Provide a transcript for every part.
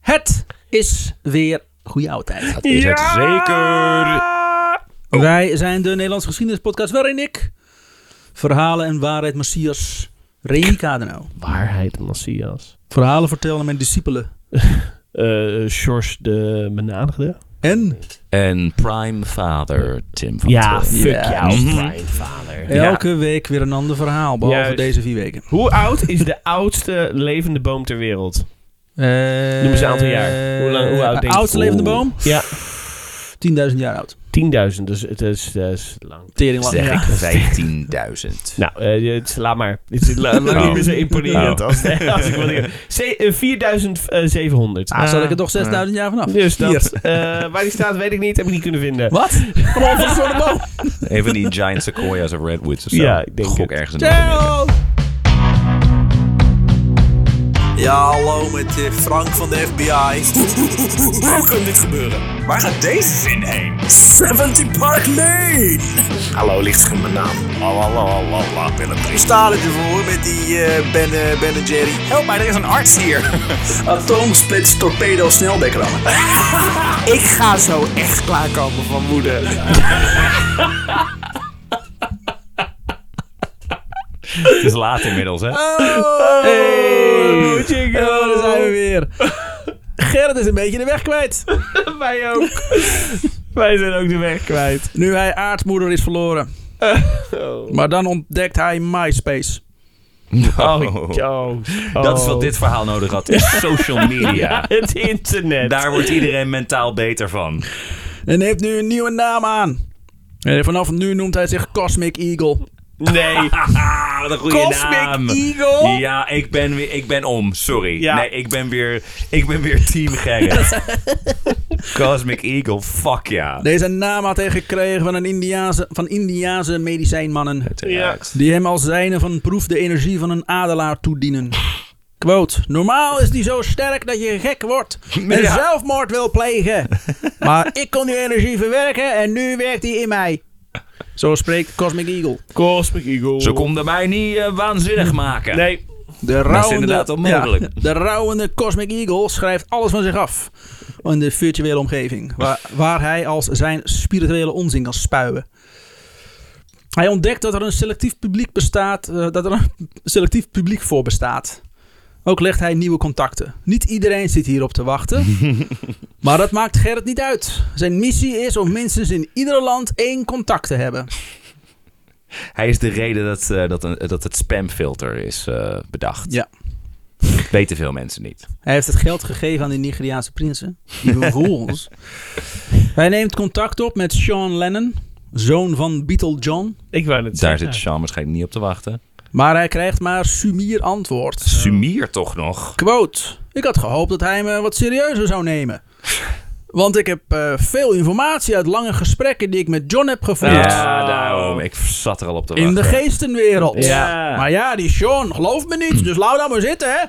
Het is weer goede oude tijd. Oh. Dat is het zeker. Wij zijn de Nederlandse geschiedenispodcast waarin ik verhalen en waarheid Messias Remy Kadeno Waarheid, Messias. verhalen vertel aan mijn discipelen Eh George de Benadigde. en En prime vader Tim van Ja, Til. fuck Ja. jou, Mhm. vader. elke week weer een ander verhaal behalve Juist. deze vier weken. Hoe oud is de oudste levende boom ter wereld? Noem eens een aantal jaar. Hoe lang- hoe oud de denk je? Eh, oudste levende Oeh. boom? Ja. 10.000 jaar oud. 10.000, dus het is, dat is lang. Tering lang. Zeg ja. ik 15.000. Nou, eh, het, laat maar. Dit is la- lang Oh. niet meer zo imponerend Oh. als, als ik wil zeggen. Ze- eh, 4700. Ah, zat ik er toch 6.000 jaar vanaf? Dus dat, Hier. eh, waar die staat weet ik niet, heb ik niet kunnen vinden. Wat? Kom op, voor de boom. Een van die giant sequoias of redwoods of zo. Ja, ik denk Gok het. ergens in de midden. Ciao! Ja, hallo met eh, Frank van de FBI. Hoe kan dit gebeuren? Waar gaat deze zin heen? 70 Park Lane! Hallo, ligt in mijn naam. Lalalala, Willem Sta er voor met die eh, ben, eh, ben en Jerry. Help mij, er is een arts hier. Atoomsplits, torpedo, sneldekker Ik ga zo echt klaarkomen van moeder. Het is laat inmiddels, hè? Oh, Hey! Jingo! Oh, daar zijn we weer. Gerrit is een beetje de weg kwijt. Wij ook. Wij zijn ook de weg kwijt. Nu hij aardmoeder is verloren. Oh, Maar dan ontdekt hij MySpace. oh, oh. Dat is wat dit verhaal nodig had. is Social media. Het internet. Daar wordt iedereen mentaal beter van. En heeft nu een nieuwe naam aan. En vanaf nu noemt hij zich Cosmic Eagle. Nee. Ah, wat een goede Cosmic naam. Eagle? Ja, ik ben, weer, ik ben om. Sorry. Ja. Nee, ik ben weer, ik ben weer team Gerrit. Cosmic Eagle, fuck ja. Deze naam had hij gekregen van, een Indiaanse, van Indiaanse medicijnmannen. Uiteraard. Die hem als zijne van proef de energie van een adelaar toedienen. Quote. Normaal is die zo sterk dat je gek wordt en Ja. zelfmoord wil plegen. Maar ik kon die energie verwerken en nu werkt die in mij. Zo spreekt Cosmic Eagle. Cosmic Eagle. Ze konden mij niet eh, waanzinnig maken. Nee. De inderdaad rouwende, onmogelijk. de rouwende Cosmic Eagle schrijft alles van zich af. In de virtuele omgeving. Waar, waar hij als zijn spirituele onzin kan spuien. Hij ontdekt dat er een selectief publiek bestaat. eh, dat er een selectief publiek voor bestaat. Ook legt hij nieuwe contacten. Niet iedereen zit hierop te wachten. maar dat maakt Gerrit niet uit. Zijn missie is om minstens in ieder land één contact te hebben. Hij is de reden dat, eh, dat, een, dat het spamfilter is eh, bedacht. Ja. Weten veel mensen niet. Hij heeft het geld gegeven aan de Nigeriaanse prinsen. Die vervolgens. Hij neemt contact op met Sean Lennon, zoon van Beatle John. Ik wou het Daar zeggen. zit Sean waarschijnlijk niet op te wachten. Maar hij krijgt maar sumier antwoord. Sumier toch nog? Quote: Ik had gehoopt dat hij me wat serieuzer zou nemen. Want ik heb eh, veel informatie uit lange gesprekken die ik met John heb gevoerd. Ja, daarom. Ik zat er al op te wachten. In de geestenwereld. Ja. Maar ja, die Sean gelooft me niet, dus laat dat maar zitten, hè.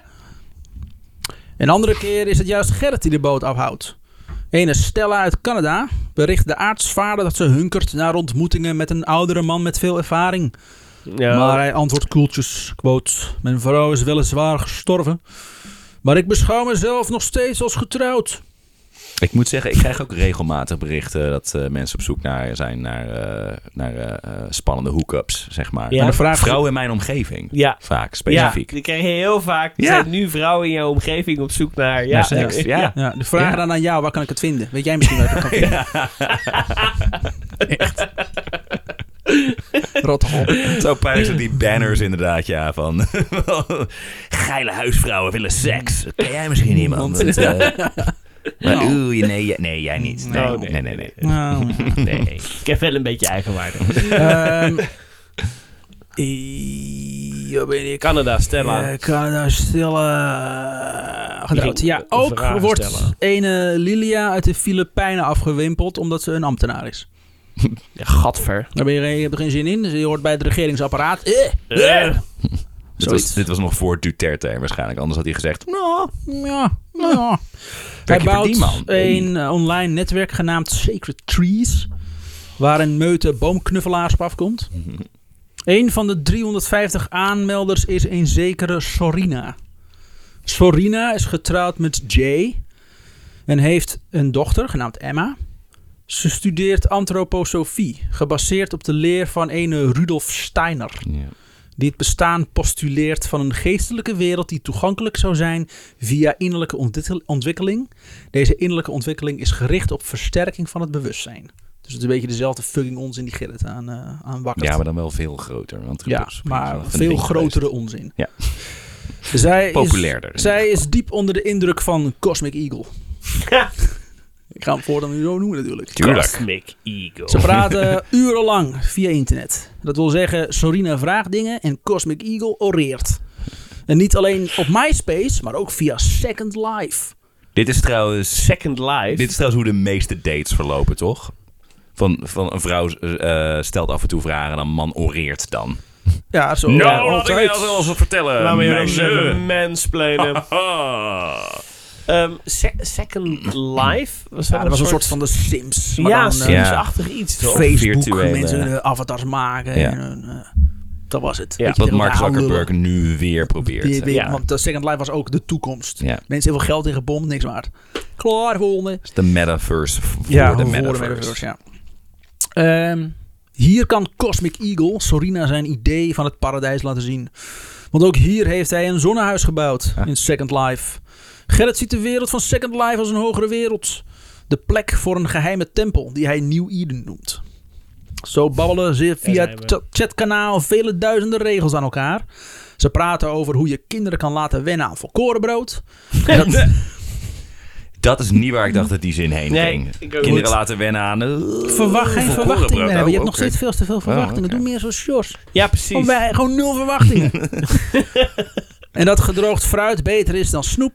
Een andere keer is het juist Gerrit die de boot afhoudt. Ene Stella uit Canada bericht de aartsvaarder dat ze hunkert naar ontmoetingen met een oudere man met veel ervaring. Ja. Maar eh, hij antwoordt koeltjes, quote, mijn vrouw is weliswaar gestorven, maar ik beschouw mezelf nog steeds als getrouwd. Ik moet zeggen, ik krijg ook regelmatig berichten dat eh, mensen op zoek naar, zijn naar, eh, naar eh, eh, spannende hookups, zeg maar. Ja. En de vraag is- Vrouwen in mijn omgeving. Ja. Vaak, Ja, specifiek. die krijg je heel vaak. Er Ja. zijn nu vrouwen in jouw omgeving op zoek naar... Ja, Naar seks. Ja. Ja, de vraag Ja. dan aan jou, waar kan ik het vinden? Weet jij misschien waar ik het kan vinden? Echt. Rot op. Zo pijnlijk zijn die banners inderdaad, ja, van... Geile huisvrouwen willen seks. Ken jij misschien iemand? Want- Dat, eh, maar oeh, je- nee, jij- nee, jij niet. Nee, Oh, nee, nee. nee. nee, nee. Nou. Ik heb wel een beetje eigenwaarde. Ehm, i- Waar ben ik? Canada, Stella. Eh, Canada Stella. Getrouwd. Ging Ja, ook vragen wordt stellen. ene Lilia uit de Filipijnen afgewimpeld omdat ze een ambtenaar is. Ja, gadver. Daar ben je, je hebt er geen zin in. Dus je hoort bij het regeringsapparaat. Eh, Eh. Dit was, dit was nog voor Duterte waarschijnlijk. Anders had hij gezegd... nou, ja, nou ja. Hij je voor bouwt die man? een eh, online netwerk genaamd Sacred Trees, waar een meute boomknuffelaars op afkomt. Een van de 350 aanmelders is een zekere Sorina. Sorina is getrouwd met Jay, En heeft een dochter, genaamd Emma. Ze studeert antroposofie, gebaseerd op de leer van een Rudolf Steiner Ja. die het bestaan postuleert van een geestelijke wereld die toegankelijk zou zijn via innerlijke ontwikkel- ontwikkeling. Deze innerlijke ontwikkeling is gericht op versterking van het bewustzijn. Dus het is een beetje dezelfde fucking onzin die Gerrit aan, eh aan wakkert. ja, maar dan wel veel groter. Want Ja, Rudolf Steiner maar is wel een veel ding grotere geweest. onzin. Ja. Zij is- Populairder. zij is diep onder de indruk van Cosmic Eagle. Eh, Ik ga hem voortaan nu zo noemen natuurlijk. Tuurlijk. Cosmic Eagle. Oh. Ze praten urenlang via internet. Dat wil zeggen, Sorina vraagt dingen en Cosmic Eagle oreert. En niet alleen op MySpace, maar ook via Second Life. Dit is trouwens Second Life. Dit is trouwens hoe de meeste dates verlopen, toch? Van, van een vrouw eh, stelt af en toe vragen en een man oreert dan. Ja, zo. Nou, ja, laat ik altijd. jou wel eens wat vertellen, Laten we je meisje. even mansplainen. Ah. Ehm, Se- Second Life? Was Ja, dat was een soort van de Sims. Maar ja, dan, eh, Sims. Sims-achtig iets. toch? Fake. Facebook, virtuele- mensen eh, avatars maken. Ja. En, eh, dat was het. Ja, Weet je, Wat heel Mark raar Zuckerberg lullen. nu weer Die- probeert. die- ja. Want eh, Second Life was ook de toekomst. Ja. Mensen heel veel geld in gebomd, niks waard. Klaar, volgende. Het is de metaverse v- voor Ja, de voor metaverse. ja. Ehm, hier kan Cosmic Eagle Sorina zijn idee van het paradijs laten zien. Want ook hier heeft hij een zonnehuis gebouwd Ah. in Second Life. Gerrit ziet de wereld van Second Life als een hogere wereld. De plek voor een geheime tempel die hij New Eden noemt. Zo babbelen ze via zijn we. het cha- chatkanaal vele duizenden regels aan elkaar. Ze praten over hoe je kinderen kan laten wennen aan volkorenbrood. En dat- Dat is niet waar ik dacht dat die zin heen Nee, ging. ik ook Kinderen niet. laten wennen aan... eh, Verwacht geen verwachtingen meer hebben. Je hebt nog steeds veel. veel te veel verwachtingen. Ah, oké. Doe meer zoals Sjors. Ja, precies. Gewoon, bij- gewoon nul verwachtingen. en dat gedroogd fruit beter is dan snoep.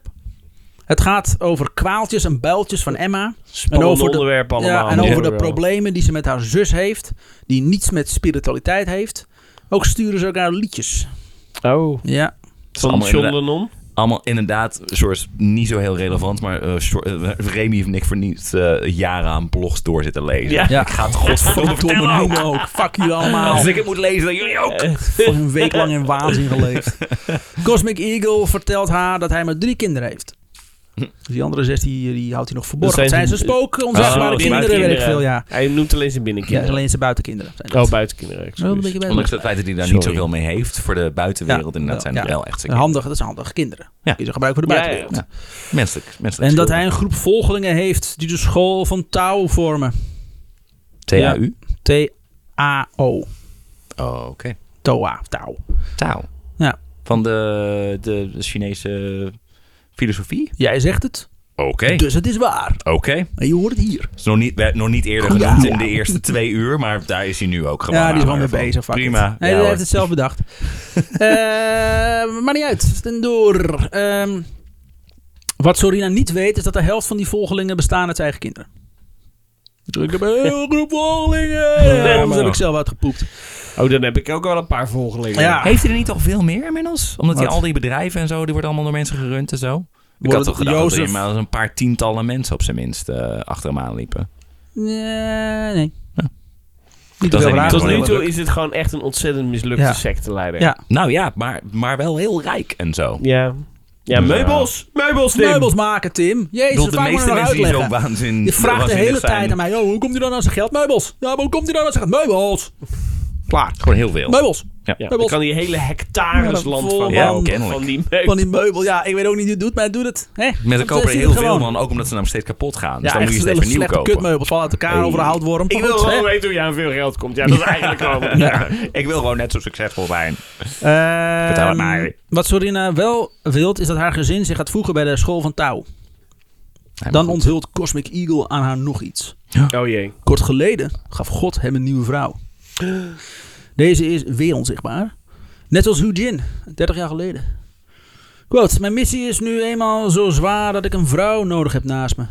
Het gaat over kwaaltjes en builtjes van Emma. Spannend en over de- onderwerp allemaal. ja, en over de Overal. problemen die ze met haar zus heeft. Die niets met spiritualiteit heeft. Ook sturen ze elkaar liedjes. Oh. Ja. Van allemaal John inderdaad- Lennon. Allemaal inderdaad, een soort niet zo heel relevant, maar eh, short- eh, Remy heeft Nick voor niet eh, jaren aan blogs door zitten lezen. Ja. Ja. Ik ga het godverdomme vertellen Domme ook. noemen ook. Fuck jullie allemaal. Als dus ik het moet lezen, dan jullie ook. Voor een week lang in waanzin geleefd. Cosmic Eagle vertelt haar dat hij maar drie kinderen heeft. Hm. Dus die andere zes die, die houdt hij nog verborgen. Dat Dat zijn zijn ze ze- spoken, onzichtbare Ah, Oh, die kinderen, weet ik buitenkinderen. veel, ja. Hij noemt alleen zijn ja binnenkinderen. alleen zijn buitenkinderen. Zijn dat. Oh, buitenkinderen. Wel een excuus. beetje bij Ondanks het feit dat hij daar niet Sorry. zoveel mee heeft, voor de buitenwereld Ja, inderdaad zijn het ja. wel echt zijn Een handige, dat zijn handige kinderen. Ja. Die ze gebruiken voor de Ja, buitenwereld. ja. kinderen. Menselijk, menselijk. En dat hij een groep volgelingen heeft die de school van Tao vormen. TAU? T-A-O. Oh, oké. Toa, Tao. Tao. Ja. Van de, de, de Chinese filosofie? Jij zegt het, Oké. dus het is waar. Oké. En je hoort het hier. Is nog niet, werd nog niet eerder Ja. genoemd in de eerste twee uur, maar daar is hij nu ook gewoon ja, die is gewoon mee aanhanger bezig. van. fuck it. Prima. Hij Ja, hoor. heeft het zelf bedacht. Eh maar niet uit. Dan door. Ehm, wat Sorina niet weet, is dat de helft van die volgelingen bestaan uit zijn eigen kinderen. Dus ik heb een hele groep volgelingen. Ja, maar dat heb ook. ik zelf uitgepoept. Oh, dan heb ik ook wel een paar volgelingen. Ja. Heeft hij er niet al veel meer inmiddels? Omdat hij Wat? al die bedrijven en zo, die worden allemaal door mensen gerund en zo. Ik Worden had toch gedacht dat Jozef- er maar een paar tientallen mensen op zijn minst eh, achter hem aanliepen. Nee, nee. Ja. Niet te Dat veel is vragen. Tot nu Heel toe druk. is het gewoon echt een ontzettend mislukte Ja. secteleider. Ja. Nou ja, maar, maar wel heel rijk en zo. Ja. Ja, Dus, meubels. Meubels, Tim. Meubels maken, Tim. Ik Jezus, bedoel, de vaak moet je meeste nog mensen die zo uitleggen. waanzin, Je vraagt de waanzinnig hele zijn, tijd aan mij, oh, hoe komt hij dan aan zijn geld? Meubels. Ja, maar hoe komt hij dan aan zijn geld? Meubels. Klaar. Gewoon heel veel. Meubels. Ja, dan Meubels. kan die hele hectares Ja, land vol van, Ja, van kennelijk. die van meubels. die meubel. Ja, ik weet ook niet hoe het doet, maar het doet het. Hè? Mensen Dat kopen er ziet heel het veel eh, gewoon. van, ook omdat ze namelijk steeds kapot gaan. Dus Ja, dan moet echt je hele steeds weer nieuw slechte kopen. kutmeubels vallen uit elkaar over de houtworm. Ik wil gewoon weten hoe jij aan veel geld komt. Ja, dat is eigenlijk gewoon... Ja, ik wil gewoon net zo succesvol zijn. Vertel het mij. Ehm, Wat Sorina wel wilt, is dat haar gezin zich gaat voegen bij de school van Tao. Ja, Dan maar goed. onthult Cosmic Eagle aan haar nog iets. Oh jee. Kort geleden gaf God hem een nieuwe vrouw. Deze is weer onzichtbaar. Net als Hu Jin, 30 jaar geleden. Quote, mijn missie is nu eenmaal zo zwaar dat ik een vrouw nodig heb naast me.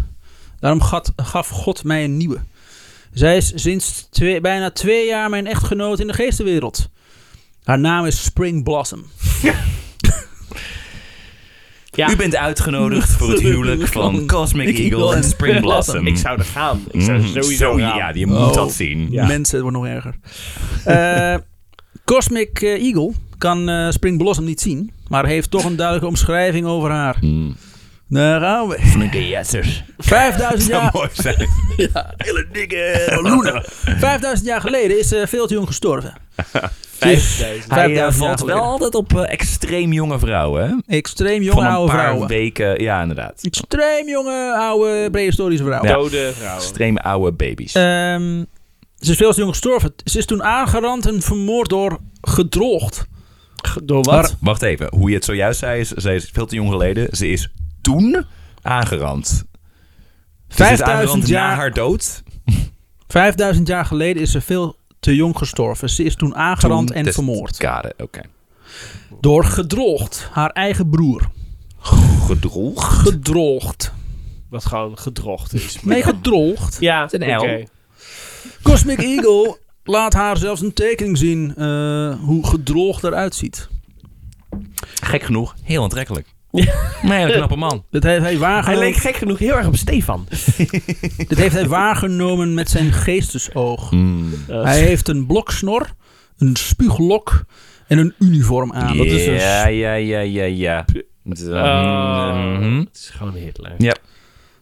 Daarom gat- gaf God mij een nieuwe. Zij is sinds twee- bijna twee jaar mijn echtgenoot in de geestenwereld. Haar naam is Spring Blossom. Ja. U bent uitgenodigd voor het huwelijk van Cosmic Eagle en Spring Blossom. Ik zou er gaan. Ik zou Mhm, sowieso zo- gaan. Ja, je moet Oh. dat zien. Ja. Mensen, het wordt nog erger. Eh, Cosmic eh, Eagle kan eh, Spring Blossom niet zien, maar heeft toch een duidelijke omschrijving over haar. Mm. Daar gaan we. Van een gejazzers. 5000 zou jaar, mooi zijn. Hele dikke loenen. 5000 jaar geleden is eh veel te jong gestorven. Hij eh, 5000 valt jaar wel geleden. altijd op eh, extreem jonge vrouwen. Hè? Extreem Van jonge een oude paar vrouwen. weken. Ja, inderdaad. Extreem jonge oude prehistorische vrouwen. Dode vrouwen. Extreem oude baby's. Ehm, ze is veel te jong gestorven. Ze is toen aangerand en vermoord door gedroogd. Door Maar- Wacht even. Hoe je het zojuist zei, is, ze is veel te jong geleden. Ze is toen aangerand. Dus ze is 5000 aangerand na jaar, haar dood. 5000 jaar geleden is ze veel te jong gestorven. Ze is toen aangerand Toen en des- vermoord. Kade, oké. Door gedroogd. Haar eigen broer. Gedroeg. Gedroogd. Wat gewoon gedrocht is. Nee, gedroogd. Ja, is een L. oké. Cosmic Eagle laat haar zelfs een tekening zien eh, hoe gedroogd eruit ziet. Gek genoeg, heel aantrekkelijk. Ja. Een hele knappe man. Dit heeft hij Hij leek waargenomen, gek genoeg heel erg op Stefan. dit heeft hij waargenomen met zijn geestesoog. Mm. Eh, Hij heeft een bloksnor, een spuuglok en een uniform aan. Dat is dus- een ja, ja, ja, ja, ja. Oh, Mhm. Het is gewoon Hitler. Ja.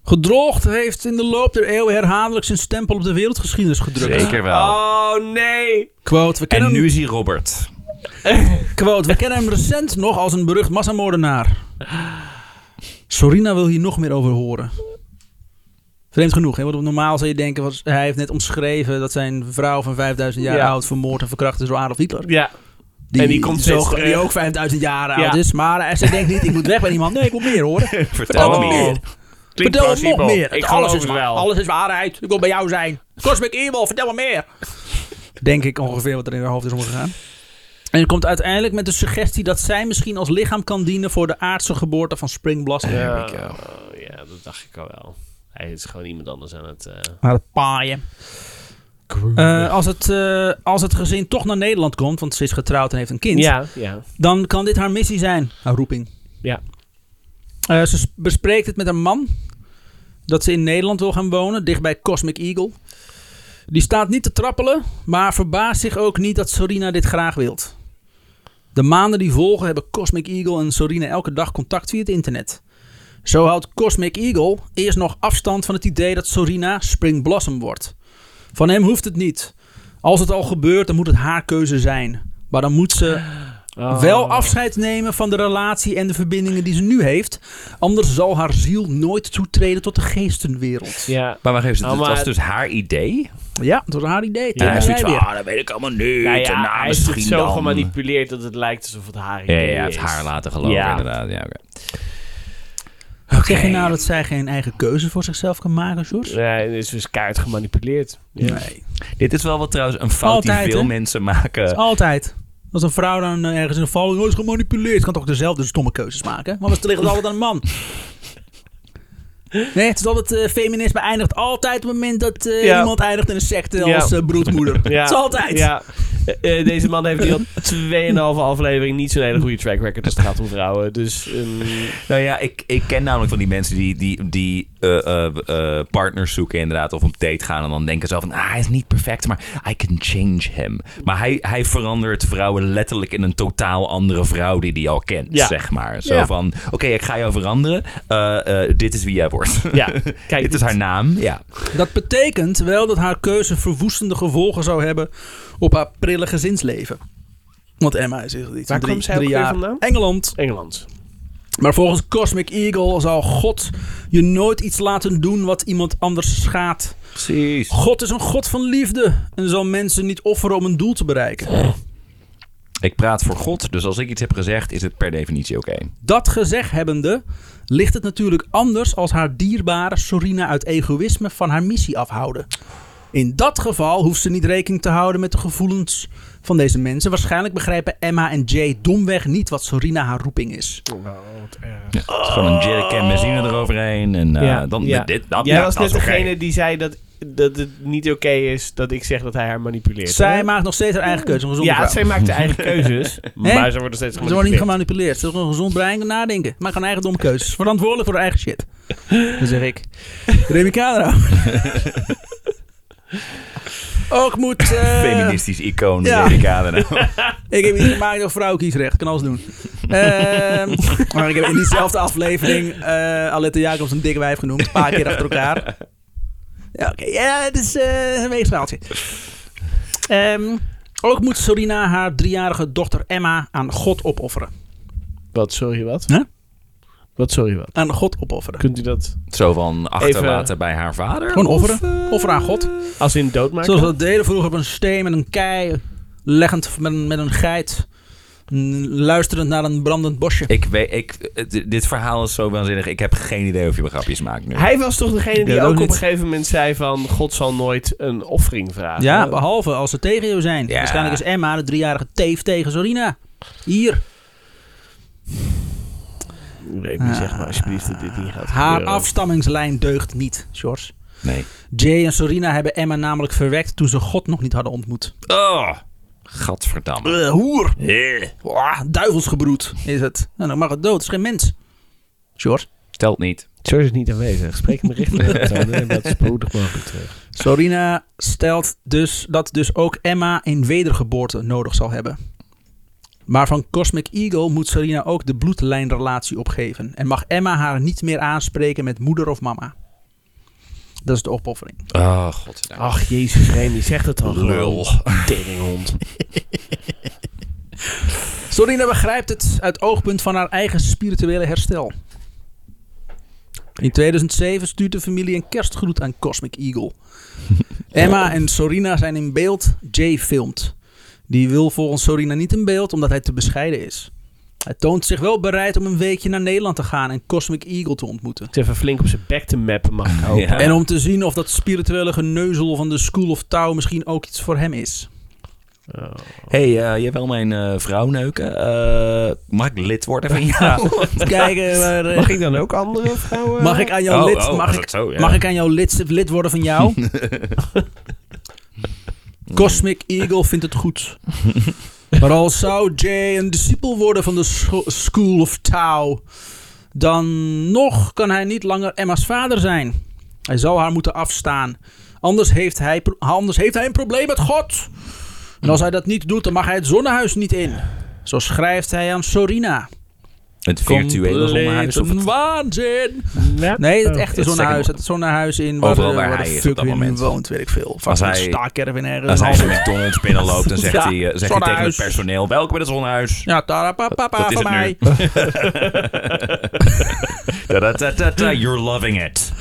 Gedroogd heeft in de loop der eeuwen herhaaldelijk zijn stempel op de wereldgeschiedenis gedrukt. Zeker wel. Oh nee. Quote, we kennen En nu hem, is hij Robert. quote, we kennen hem recent nog als een berucht massamoordenaar. Sorina wil hier nog meer over horen. Vreemd genoeg, hè? want normaal zou je denken, was, hij heeft net omschreven dat zijn vrouw van 5000 jaar Ja. oud vermoord en verkracht is door Adolf Hitler. Ja. En die komt zo, steeds terug. die ook 5000 jaar Ja. oud is, maar hij ze denkt niet, ik moet weg bij iemand. Nee, ik wil meer hoor. Vertel Oh. me meer. Klinkt vertel me plausibel. nog meer. Ik alles, geloof is het wa- wel. alles is waarheid. Ik wil bij jou zijn. Cosmic Evil, vertel me meer. Denk ik ongeveer wat er in haar hoofd is omgegaan. En het komt uiteindelijk met de suggestie dat zij misschien als lichaam kan dienen voor de aardse geboorte van Springblast. Ja, Oh, we ja, dat dacht ik al wel. Hij is gewoon iemand anders aan het... eh, Naar het paaien. Eh, als, het, eh, als het gezin toch naar Nederland komt, want ze is getrouwd en heeft een kind, ja, ja. dan kan dit haar missie zijn, haar roeping. Ja. Eh, ze s- bespreekt het met een man. Dat ze in Nederland wil gaan wonen, dichtbij Cosmic Eagle. Die staat niet te trappelen, maar verbaast zich ook niet dat Sorina dit graag wilt. De maanden die volgen hebben Cosmic Eagle en Sorina elke dag contact via het internet. Zo houdt Cosmic Eagle eerst nog afstand van het idee dat Sorina Spring Blossom wordt. Van hem hoeft het niet. Als het al gebeurt, dan moet het haar keuze zijn. Maar dan moet ze Oh. wel afscheid nemen van de relatie en de verbindingen die ze nu heeft. Anders zal haar ziel nooit toetreden tot de geestenwereld. Ja. Maar wacht even, Oh, het maar- was dus haar idee. Ja, dat was haar idee. Ja, Toen en hij ben is jij zoiets van, weer. ah, dat weet ik allemaal nu. Nou ja, hij is het zo niet. gemanipuleerd dat het lijkt alsof het haar Ja, idee ja, ja, is. het haar laten geloven Ja. inderdaad. Ja, oké. Zeg je nou dat zij geen eigen keuze voor zichzelf kan maken, George? Nee, het is dus kaart gemanipuleerd. Ja. Nee. Dit is wel wat trouwens een fout Altijd, die veel hè? mensen maken. Altijd. Als een vrouw dan eh, ergens in een valling oh, is gemanipuleerd, kan toch dezelfde stomme keuzes maken? Maar het ligt het altijd aan een man. Nee, het is altijd, eh, feminisme eindigt altijd op het moment dat eh, Ja. iemand eindigt in een secte Ja. als eh, broedmoeder. Ja. Het is altijd. Ja. Eh, eh, deze man heeft hier al 2,5 aflevering niet zo'n hele goede track record als het gaat om vrouwen. Dus ehm, Nou ja, ik, ik ken namelijk van die mensen die, die, die eh, eh, eh, partners zoeken inderdaad of op date gaan. En dan denken ze al van, ah, hij is niet perfect, maar I can change him. Maar hij, hij verandert vrouwen letterlijk in een totaal andere vrouw die hij al kent, Ja. zeg maar. Zo Ja. van, oké, ik ga jou veranderen. Eh, eh, dit is wie jij wordt. ja, kijk. dit is haar naam, ja. Dat betekent wel dat haar keuze verwoestende gevolgen zou hebben op haar prille gezinsleven. Want Emma is echt iets van Waar drie, kwam zij ook drie weer jaar. vandaan? Engeland. Engeland. Maar volgens Cosmic Eagle zal God je nooit iets laten doen wat iemand anders schaadt. Precies. God is een God van liefde en zal mensen niet offeren om een doel te bereiken. Ik praat voor God, dus als ik iets heb gezegd, is het per definitie oké. Dat gezegd hebbende ligt het natuurlijk anders als haar dierbare Sorina uit egoïsme van haar missie afhouden. In dat geval hoeft ze niet rekening te houden met de gevoelens van deze mensen. Waarschijnlijk begrijpen Emma en Jay domweg niet wat Sorina haar roeping is. Ja, het is Gewoon een jerrycan benzine eroverheen en eh, Ja, dan ja. dit, dat, Jij ja, was dat net is oké. degene die zei dat, dat het niet oké is dat ik zeg dat hij haar manipuleert. Zij hè? maakt nog steeds haar eigen keuze. Een gezonde Ja, vrouw. zij maakt haar eigen keuzes. maar ze worden steeds Ze worden niet gemanipuleerd. gemanipuleerd. Ze hebben een gezond brein en nadenken. Maak gewoon eigen domme keuzes. Verantwoordelijk voor haar eigen shit. Dat zeg ik. Remy Kadra. Ook moet... eh, Feministisch icoon, Ja. ja. Amerikanen. Ik heb iets gemaakt door vrouwen kiesrecht. Kan alles doen. Ehm, maar ik heb in diezelfde aflevering eh Alette Jacobs een dikke wijf genoemd. Een paar keer achter elkaar. Ja, oké. Ja, het is eh, een weegschaaltje. Ehm, ook moet Sorina haar driejarige dochter Emma aan God opofferen. Wat, sorry, wat? Huh? Wat, sorry, wat? Aan God opofferen. Kunt u dat Zo van achterlaten Even- bij haar vader? Gewoon Of, offeren. eh, Offeren aan God. als in doodmaken? Zoals we dat deden vroeger op een steen met een kei. Leggend met een, met een geit. mm, Luisterend naar een brandend bosje. Ik weet, ik, d- dit verhaal is zo waanzinnig. Ik heb geen idee of je me grapjes maakt nu. Hij was toch degene die Ja, dat ook ook op een niet. gegeven moment zei van... God zal nooit een offering vragen. Ja, behalve als ze tegen jou zijn. Ja. Waarschijnlijk is Emma, de driejarige teef, tegen Sorina. Hier, Ik weet niet, zeg maar alsjeblieft dat dit niet gaat haar gebeuren. afstammingslijn deugt niet, George. Nee. Jay en Sorina hebben Emma namelijk verwekt toen ze God nog niet hadden ontmoet. Oh, gadverdamme. Eh, hoer, Eh, Wah, duivelsgebroed is het. Nou, dan mag het dood, het is geen mens. George. Telt niet. George is niet aanwezig. Spreek hem richting aan en dat is spoedig mogelijk terug. Sorina stelt dus dat dus ook Emma een wedergeboorte nodig zal hebben. Maar van Cosmic Eagle moet Sorina ook de bloedlijnrelatie opgeven. En mag Emma haar niet meer aanspreken met moeder of mama. Dat is de opoffering. Oh, godverdamme. Ach, jezus, Remy, zeg het al Lul. Teringhond. Sorina begrijpt nou, het uit oogpunt van haar eigen spirituele herstel. In 2007 stuurt de familie een kerstgroet aan Cosmic Eagle. Emma en Sorina zijn in beeld. Jay filmt. Die wil volgens Sorina niet in beeld omdat hij te bescheiden is. Hij toont zich wel bereid om een weekje naar Nederland te gaan en Cosmic Eagle te ontmoeten. Ik zit even flink op zijn bek te mappen, mag ik hopen. Ja. En om te zien of dat spirituele geneuzel van de School of Tao misschien ook iets voor hem is. Oh. hey, eh, jij wil mijn eh, vrouw neuken? Eh, mag ik lid worden van jou? Even Kijken, waar, eh, Mag ik dan ook andere vrouwen? mag ik aan jouw Oh, lid? oh, mag was ik, dat zo, ja. Mag ik aan jou lid, lid worden van jou? Cosmic Eagle vindt het goed. maar al zou Jay een discipel worden van de scho- School of Tao, dan nog kan hij niet langer Emma's vader zijn. Hij zal haar moeten afstaan. Anders heeft hij, pro- anders heeft hij een probleem met God. En als hij dat niet doet, dan mag hij het zonnehuis niet in. Zo schrijft hij aan Sorina. Het virtuele zonnehuis of Compleet het... een waanzin. Nee, Oh, het echte het zonnehuis. second- Het zonnehuis in waar, Overal de- waar waar hij de is fuck op dat wie nu moment. woont, weet ik veel. Vaak hij- een staakerven ergens. Als hij Halve- de McDonald's binnenloopt, dan zegt, Ja, hij, eh, zegt hij tegen het zonnehuis. personeel... Welkom bij het zonnehuis. Ja, tarapapapa Dat is van het mij. nu. Ta-da-ta-ta-ta, You're loving it.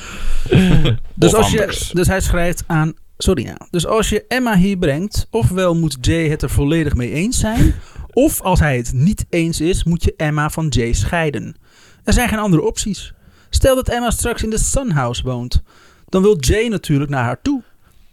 Dus, Of als je, anders. dus hij schrijft aan Sorina. Dus als je Emma hier brengt, ofwel moet Jay het er volledig mee eens zijn, of als hij het niet eens is, moet je Emma van Jay scheiden. Er zijn geen andere opties. Stel dat Emma straks in de Sunhouse woont, dan wil Jay natuurlijk naar haar toe.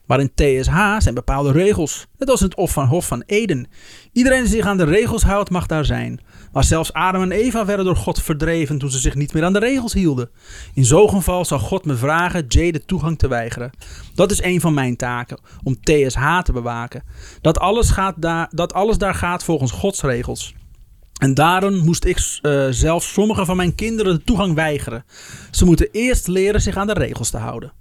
Maar in TSH zijn bepaalde regels, net als in het Hof van, Hof van Eden. Iedereen die zich aan de regels houdt, mag daar zijn. Maar zelfs Adam en Eva werden door God verdreven toen ze zich niet meer aan de regels hielden. In zo'n geval zal God me vragen Jay de toegang te weigeren. Dat is een van mijn taken, om TSH te bewaken. Dat alles, gaat daar, dat alles daar gaat volgens Gods regels. En daarom moest ik eh, zelfs sommige van mijn kinderen de toegang weigeren. Ze moeten eerst leren zich aan de regels te houden.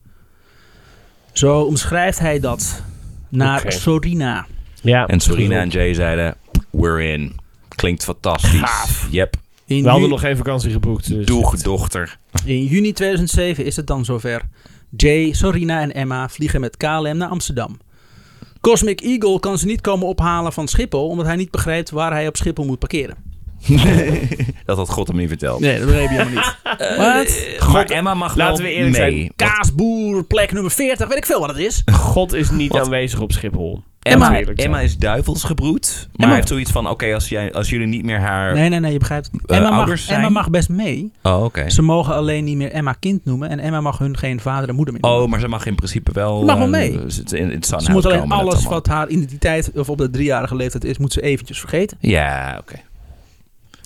Zo omschrijft hij dat naar Oké. Sorina. Ja. En Sorina en Jay zeiden... We're in. Klinkt fantastisch. Gaaf. Yep. In We hadden ju- nog geen vakantie geboekt. Dus. Doeg, dochter. In juni 2007 is het dan zover. Jay, Sorina en Emma vliegen met KLM naar Amsterdam. Cosmic Eagle kan ze niet komen ophalen van Schiphol, omdat hij niet begrijpt waar hij op Schiphol moet parkeren. Dat had God hem niet verteld. Nee, dat begreep je helemaal niet. Eh, Wat? maar Emma mag laten wel we eerlijk mee. zijn. Kaasboer, plek nummer 40, weet ik veel wat het is. God is niet aanwezig op Schiphol. Laten Emma, we eerlijk zijn. Emma is duivelsgebroed. Maar hij heeft zoiets van... Oké, als, jij- als jullie niet meer haar... Nee, nee, nee, je begrijpt het niet. Eh, Emma ouders mag, zijn- Emma mag best mee. Oh, oké. Ze mogen alleen niet meer Emma kind noemen en Emma mag hun geen vader en moeder meer noemen. Oh, maar ze mag in principe wel... Ze mag wel eh, mee. ze- ze- in, in het Sunhouse ze moet alleen komen, dat alles allemaal. wat haar identiteit of op de driejarige leeftijd is, moet ze eventjes vergeten. Ja, oké.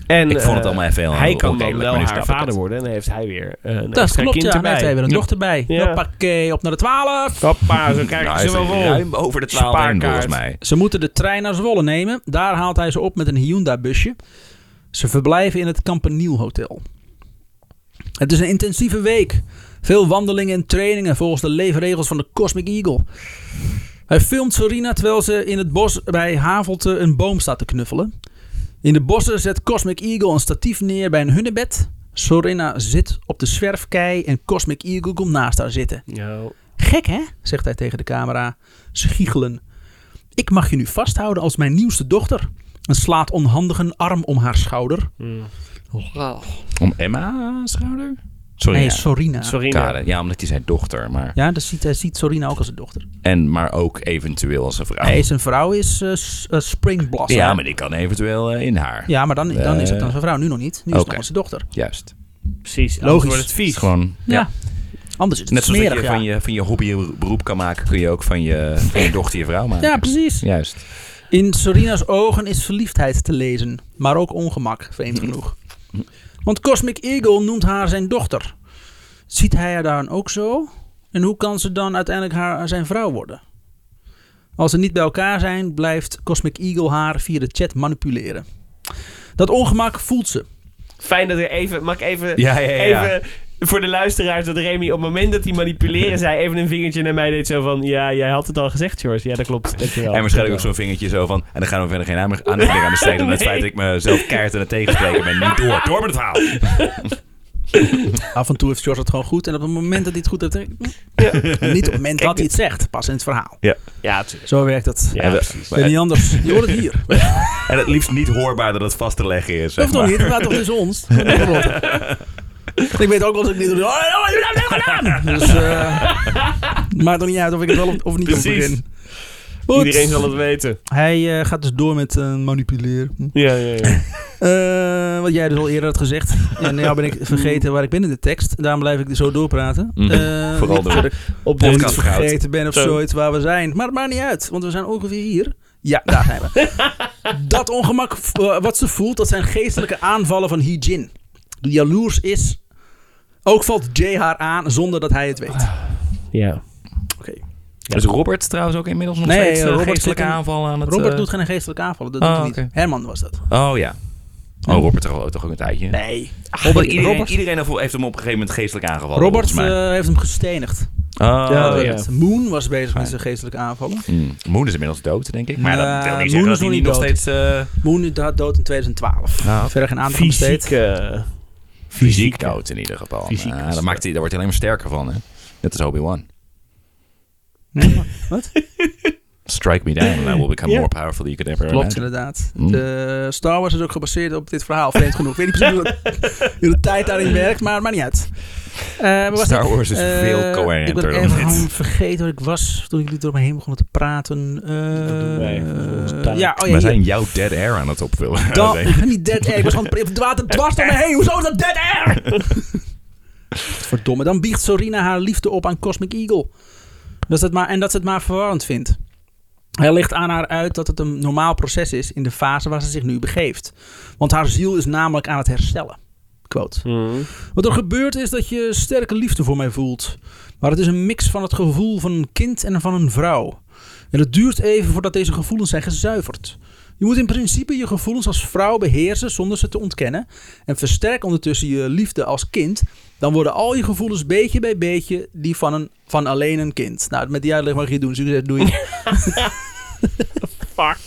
En, Ik vond het eh, allemaal even heel Hij kan dan oneerlijk, wel maar nu haar snap ik vader het. worden. En dan heeft hij weer eh, een Dat extra klopt, kind ja. erbij. Hij heeft weer een dochter bij. Ja. Hoppakee, op naar de 12. Hoppa, zo krijgen Nou, ze hij wel is vol. ruim over de 12 heen, Spaarkaart. volgens mij. Ze moeten de trein naar Zwolle nemen. Daar haalt hij ze op met een Hyundai-busje. Ze verblijven in het Campaniel Hotel. Het is een intensieve week. Veel wandelingen en trainingen volgens de leefregels van de Cosmic Eagle. Hij filmt Sorina terwijl ze in het bos bij Havelte een boom staat te knuffelen. In de bossen zet Cosmic Eagle een statief neer bij een hunnebed. Sorina zit op de zwerfkei en Cosmic Eagle komt naast haar zitten. Ja. oh. Gek hè? zegt hij tegen de camera, schiegelen. Ik mag je nu vasthouden als mijn nieuwste dochter. En slaat onhandig een arm om haar schouder. Oh, Mm. Om Emma's schouder? Sorry. nee, ja. Sorina. Sorry. Kade. maar- Ja, omdat hij zijn dochter, maar... Ja, dat ziet, hij ziet Sorina ook als een dochter. En maar ook eventueel als een vrouw. Nee, zijn vrouw is eh, s- eh, Spring Blossom. Oh. ja, maar die kan eventueel eh, in haar. Ja, maar dan, dan is het dan Eh, zijn vrouw. Nu nog niet. Nu is het oké. nog als zijn dochter. Juist. Precies. Logisch. Logisch. wordt het Het is vies. gewoon... Ja. Anders is het Net zoals dat smerig, ja. je van, je van je hobby je beroep kan maken, kun je ook van je, van je dochter je vrouw maken. Ja, precies. Juist. In Sorina's ogen is verliefdheid te lezen, maar ook ongemak, vreemd genoeg. Want Cosmic Eagle noemt haar zijn dochter. Ziet hij haar dan ook zo? En hoe kan ze dan uiteindelijk haar, zijn vrouw worden? Als ze niet bij elkaar zijn, blijft Cosmic Eagle haar via de chat manipuleren. Dat ongemak voelt ze. Fijn dat er even... Mag ik even... Ja, ja, ja. Even voor de luisteraars dat Remy op het moment dat hij manipuleren zei... even een vingertje naar mij deed zo van... Ja, jij had het al gezegd, George. Ja, dat klopt. Dankjewel. En waarschijnlijk ook zo'n vingertje zo van... En dan gaan we verder geen aandacht aandacht meer aan besteden. aan Het Nee. feit dat ik mezelf keihard aan het tegenspreken ben. Niet door. Door met het verhaal. Af en toe heeft George het gewoon goed. En op het moment dat hij het goed heeft... "Mm, Niet op het moment dat hij het zegt, pas in het verhaal. Ja, natuurlijk. Zo werkt dat. Ja, En we- precies. Ben niet anders. Je hoort het hier. En het liefst niet hoorbaar dat het vast te leggen is. Dat Zeg hoeft toch maar. niet, het gaat toch tussen ons? ik weet ook wel dat ik dit doe. Oh, ja, je hebt het gedaan! Dus eh maakt er niet uit of ik het wel of, of niet Precies. om begin. Goed. Iedereen zal het weten. Hij eh, gaat dus door met eh, manipuleren. Hm. Ja, ja, ja. Eh, wat jij dus al eerder had gezegd. En nou ben ik vergeten waar ik ben in de tekst. Daarom blijf ik zo doorpraten. Mhm. Eh, Vooral niet door. dat ik Op Of ik de Podcast iets goud. vergeten ben of Zo. zoiets waar we zijn. Maar het maakt niet uit, want we zijn ongeveer hier. Ja, daar zijn we. dat ongemak v- eh, wat ze voelt, dat zijn geestelijke aanvallen van Hee-Jin. Die jaloers is. Ook valt Jay haar aan zonder dat hij het weet. Ah. Ja. Is Robert trouwens ook inmiddels nog Nee, steeds eh, Robert geestelijke zit in- aanval aan het... Robert eh, doet geen geestelijke aanvallen, dat doet Oh, hij niet. oké. Herman was dat. Oh ja. Oh, Robert toch, toch ook een tijdje. Nee. Robert, Robert, iedereen, Robert, iedereen heeft hem op een gegeven moment geestelijk aangevallen. Robert, volgens mij. eh, heeft hem gestenigd. Oh, ja, ja. ja. Moon was bezig Fijn. met zijn geestelijke aanvallen. Hmm. Moon is inmiddels dood, denk ik. Maar Ja, dat wil niet Moon zeggen is dat hij nog niet niet nog steeds eh, Moon is da- dood in 2012. Ah, oké. Verder geen aandacht aan besteed. Fysiek. eh, fysiek dood in ieder geval. Fysiek Maar, is ah, het. dat maakt hij, daar wordt hij alleen maar sterker van. Hè? Net als Obi-Wan. eh. Nee, maar- wat? Strike me down and I will become Ja. more powerful than you could ever Klopt, imagine. inderdaad. Mm. De Star Wars is ook gebaseerd op dit verhaal, vreemd genoeg. Ik weet niet precies hoe, dat, hoe de tijd daarin werkt, maar maar niet uit. Eh, waar was Star ik? Wars is Eh, veel Ik ben coherenter dan even gewoon dit. vergeten waar ik was toen jullie door me heen begonnen te praten. Eh, Dat doen wij volgens taak. ja, oh ja, We hier. zijn jouw dead air aan het opvullen. Dan, Denk ik. niet dead air. Ik was gewoon het water dwars door me heen. Hoezo is dat dead air? Verdomme. Dan biegt Sorina haar liefde op aan Cosmic Eagle. Dat ze het maar, en dat ze het maar verwarrend vindt. Hij legt aan haar uit dat het een normaal proces is in de fase waar ze zich nu begeeft. Want haar ziel is namelijk aan het herstellen. Quote. mm. Wat er gebeurt is dat je sterke liefde voor mij voelt. Maar het is een mix van het gevoel van een kind en van een vrouw. En het duurt even voordat deze gevoelens zijn gezuiverd. Je moet in principe je gevoelens als vrouw beheersen zonder ze te ontkennen. En versterk ondertussen je liefde als kind. Dan worden al je gevoelens beetje bij beetje die van, een, van alleen een kind. Nou, met die uitleg mag je het doen. Succes, doei. Fuck.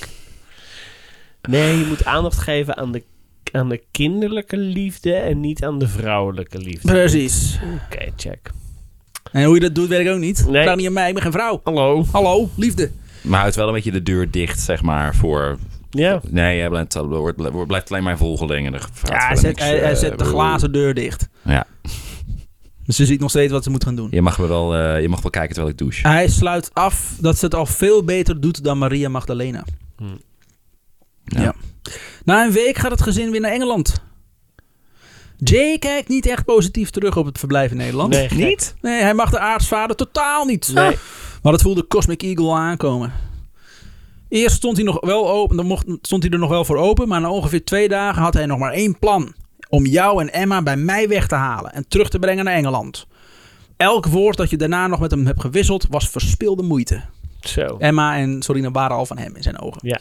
Nee, je moet aandacht geven aan de, aan de kinderlijke liefde en niet aan de vrouwelijke liefde. Precies. Oké, check. En hoe je dat doet, weet ik ook niet. Nee. Vraag niet aan mij, ik ben geen vrouw. Hallo. Hallo, liefde. Maar houdt wel een beetje de deur dicht, zeg maar, voor... Ja. Nee, jij blijft, eh, wordt- wordt- blijft alleen maar volgelingen. Er gaat Ja, hij verder zet, niks, hij, hij eh, zet de bedoel- glazen deur dicht. Ja. Dus ze ziet nog steeds wat ze moet gaan doen. Je mag, me wel, eh, je mag wel kijken terwijl ik douche. Hij sluit af dat ze het al veel beter doet dan Maria Magdalena. Hmm. Ja. Na een week gaat het gezin weer naar Engeland. Jay kijkt niet echt positief terug op het verblijf in Nederland. Nee, gek. Nee, hij mag de aartsvader totaal niet. Nee. Maar dat voelde Cosmic Eagle aankomen. Eerst stond hij, nog wel open, dan mocht, stond hij er nog wel voor open, maar na ongeveer twee dagen had hij nog maar één plan. Om jou en Emma bij mij weg te halen en terug te brengen naar Engeland. Elk woord dat je daarna nog met hem hebt gewisseld was verspilde moeite. Zo. Emma en Sorina waren al van hem in zijn ogen. Ja.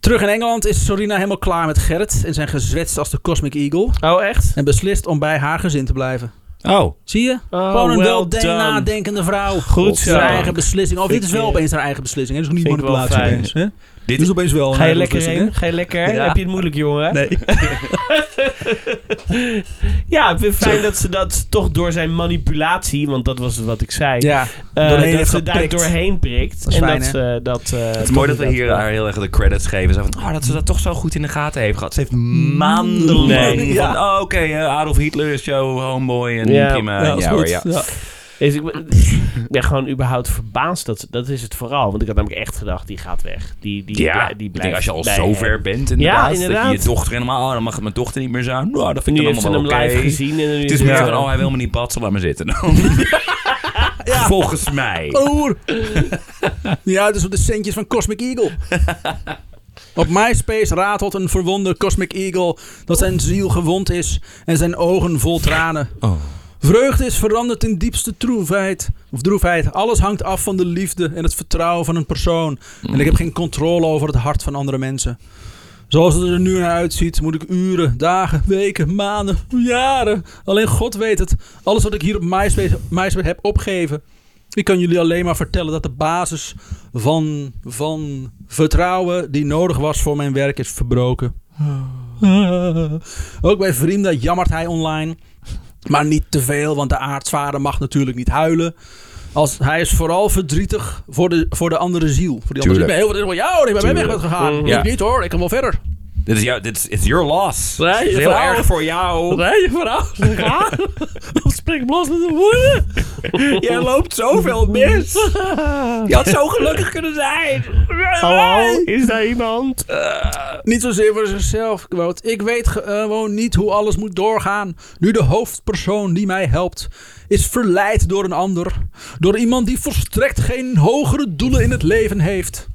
Terug in Engeland is Sorina helemaal klaar met Gerrit en zijn gezwets als de Cosmic Eagle. Oh, echt? En beslist om bij haar gezin te blijven. Oh, Zie je? Oh, Gewoon een well welden- done. nadenkende vrouw. Goed zo. Zijn eigen beslissing. Of Vind dit is wel ik- opeens haar eigen beslissing. hè? Dit is ook niet vind ik wel manipulatie fijn. opeens. hè? Dit is opeens wel een Ga je hele lekker verrassing, heen? Ga je lekker? Ja. Heb je het moeilijk, jongen? hè? Nee. Ja, ik vind het fijn dat ze dat toch door zijn manipulatie, want dat was wat ik zei, Ja, eh, doorheen dat heeft ze daar geprikt. doorheen prikt. Dat is en fijn, dat hè? ze dat... eh, Het is mooi dat we inderdaad- hier haar heel erg de credits geven. Zo van, oh, dat ze dat toch zo goed in de gaten heeft gehad. Ze heeft maanden Nee. lang Ja. van, oh, oké, eh, Adolf Hitler is jouw homeboy en Ja. prima. ja, Ja, dat is hoor, goed. ja. Ja. Dus ik ben- ben gewoon überhaupt verbaasd. Dat, ze- dat is het vooral. Want ik had namelijk echt gedacht, die gaat weg. Die, die, Ja, blij- die ik blijft denk als je al bij zo hem. ver bent inderdaad, dat inderdaad. je je dochter helemaal, oh, dan mag het mijn dochter niet meer zijn. Nou, dat vind Nu ik heeft ze allemaal hem wel oké. live gezien. En nu Het is is meer het- van, oh, hij wil me niet patsen, laat me zitten. Volgens mij. Oer. ja, dus op de centjes van Cosmic Eagle. Op MySpace ratelt een verwonde Cosmic Eagle dat zijn ziel gewond is en zijn ogen vol tranen. Vreugde is veranderd in diepste troefheid, of droefheid. Alles hangt af van de liefde en het vertrouwen van een persoon. En ik heb geen controle over het hart van andere mensen. Zoals het er nu naar uitziet, moet ik uren, dagen, weken, maanden, jaren. Alleen God weet het. Alles wat ik hier op MySpace, MySpace heb opgegeven. Ik kan jullie alleen maar vertellen dat de basis van, van vertrouwen die nodig was voor mijn werk is verbroken. Oh. Ook bij vrienden jammert hij online. Maar niet te veel, want de aartsvader mag natuurlijk niet huilen. Als, hij is vooral verdrietig voor de, voor de andere ziel. Voor die andere ziel. Ik ben Tuurlijk. heel verdrietig van jou, ik ben bij mij weg Tuurlijk. Mm. bent gegaan. Mhm. Ik Ja. niet hoor, ik kan wel verder. Dit is jou, dit is it's your loss. Nee, Het is heel vooral- erg voor jou. Nee, je verhaal. Of spring los met de woorden. Jij loopt zoveel mis. Je had zo gelukkig kunnen zijn. Hallo, is daar iemand? Niet zozeer voor zichzelf, quote. Ik weet ge- eh, gewoon niet hoe alles moet doorgaan. Nu de hoofdpersoon die mij helpt is verleid door een ander. Door iemand die volstrekt geen hogere doelen in het leven heeft.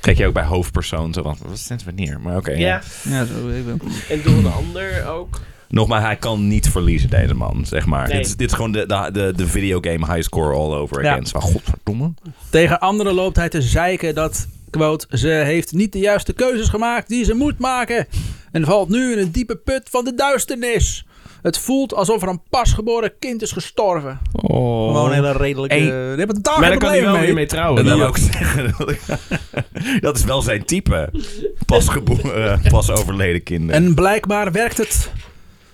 Kijk je ook bij hoofdpersoon zo van, wat is sinds wanneer? Maar oké. ja. Ja, Ja, zo even. en door een ander ook. Nogmaals, hij kan niet verliezen, deze man, zeg maar. Nee. Dit, is, dit is gewoon de, de, de, de videogame highscore all over Ja. again. Zo, godverdomme. Tegen anderen loopt hij te zeiken dat, quote, ze heeft niet de juiste keuzes gemaakt die ze moet maken. En valt nu in een diepe put van de duisternis. Het voelt alsof er een pasgeboren kind is gestorven. Oh. Gewoon een hele redelijke... Hey. Je hebt een daar Maar geen daar kan hij probleem wel mee. weer mee Dat trouwen. wil ik ook zeggen. dat is wel zijn type. Pas, geboren, eh, pas overleden kinderen. En blijkbaar werkt het.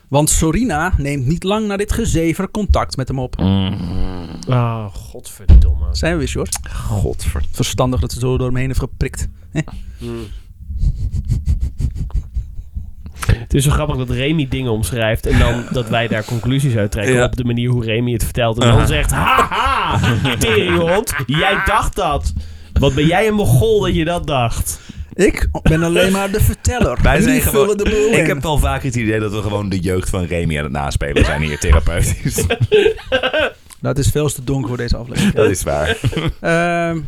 Want Sorina neemt niet lang na dit gezever contact met hem op. Mm. Oh, godverdomme. Zijn we weer, Short? Godverdomme. Verstandig dat ze zo door hem heen heeft geprikt. Het is zo grappig dat Remy dingen omschrijft en dan dat wij daar conclusies uit trekken Ja. op de manier hoe Remy het vertelt. En dan zegt, haha, teringehond, jij dacht dat. Wat ben jij een mogol dat je dat dacht. Ik ben alleen maar de verteller. Wij zijn Jullie gewoon- vullen de boel Ik in. heb wel vaak het idee dat we gewoon de jeugd van Remy aan het naspelen zijn hier therapeutisch. Dat Nou, is veel te donker voor deze aflevering. dat is waar. Ehm,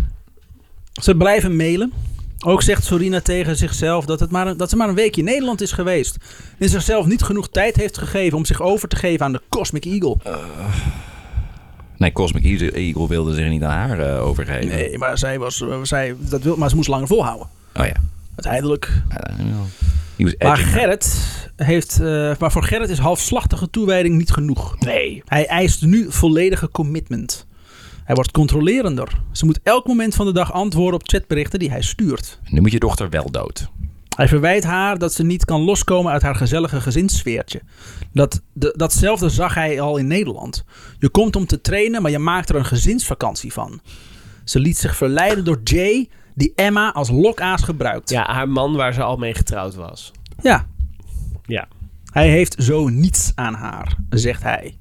ze blijven mailen. Ook zegt Sorina tegen zichzelf dat, het maar een- dat ze maar een weekje in Nederland is geweest. En zichzelf niet genoeg tijd heeft gegeven om zich over te geven aan de Cosmic Eagle. Nee, Cosmic Eagle- Eagle wilde zich niet aan haar eh, overgeven. Nee, maar, zij was, eh, zij, dat wil, maar ze moest langer volhouden. Oh ja. Uiteindelijk He was Maar edgy. Gerrit heeft, eh, maar voor Gerrit is halfslachtige toewijding niet genoeg. Nee. Hij eist nu volledige commitment. Hij wordt controlerender. Ze moet elk moment van de dag antwoorden op chatberichten die hij stuurt. Nu moet je dochter wel dood. Hij verwijt haar dat ze niet kan loskomen uit haar gezellige gezinssfeertje. Dat, de, datzelfde zag hij al in Nederland. Je komt om te trainen, maar je maakt er een gezinsvakantie van. Ze liet zich verleiden door Jay, die Emma als lokaas gebruikt. Ja, haar man waar ze al mee getrouwd was. ja, Ja. Hij heeft zo niets aan haar, zegt hij.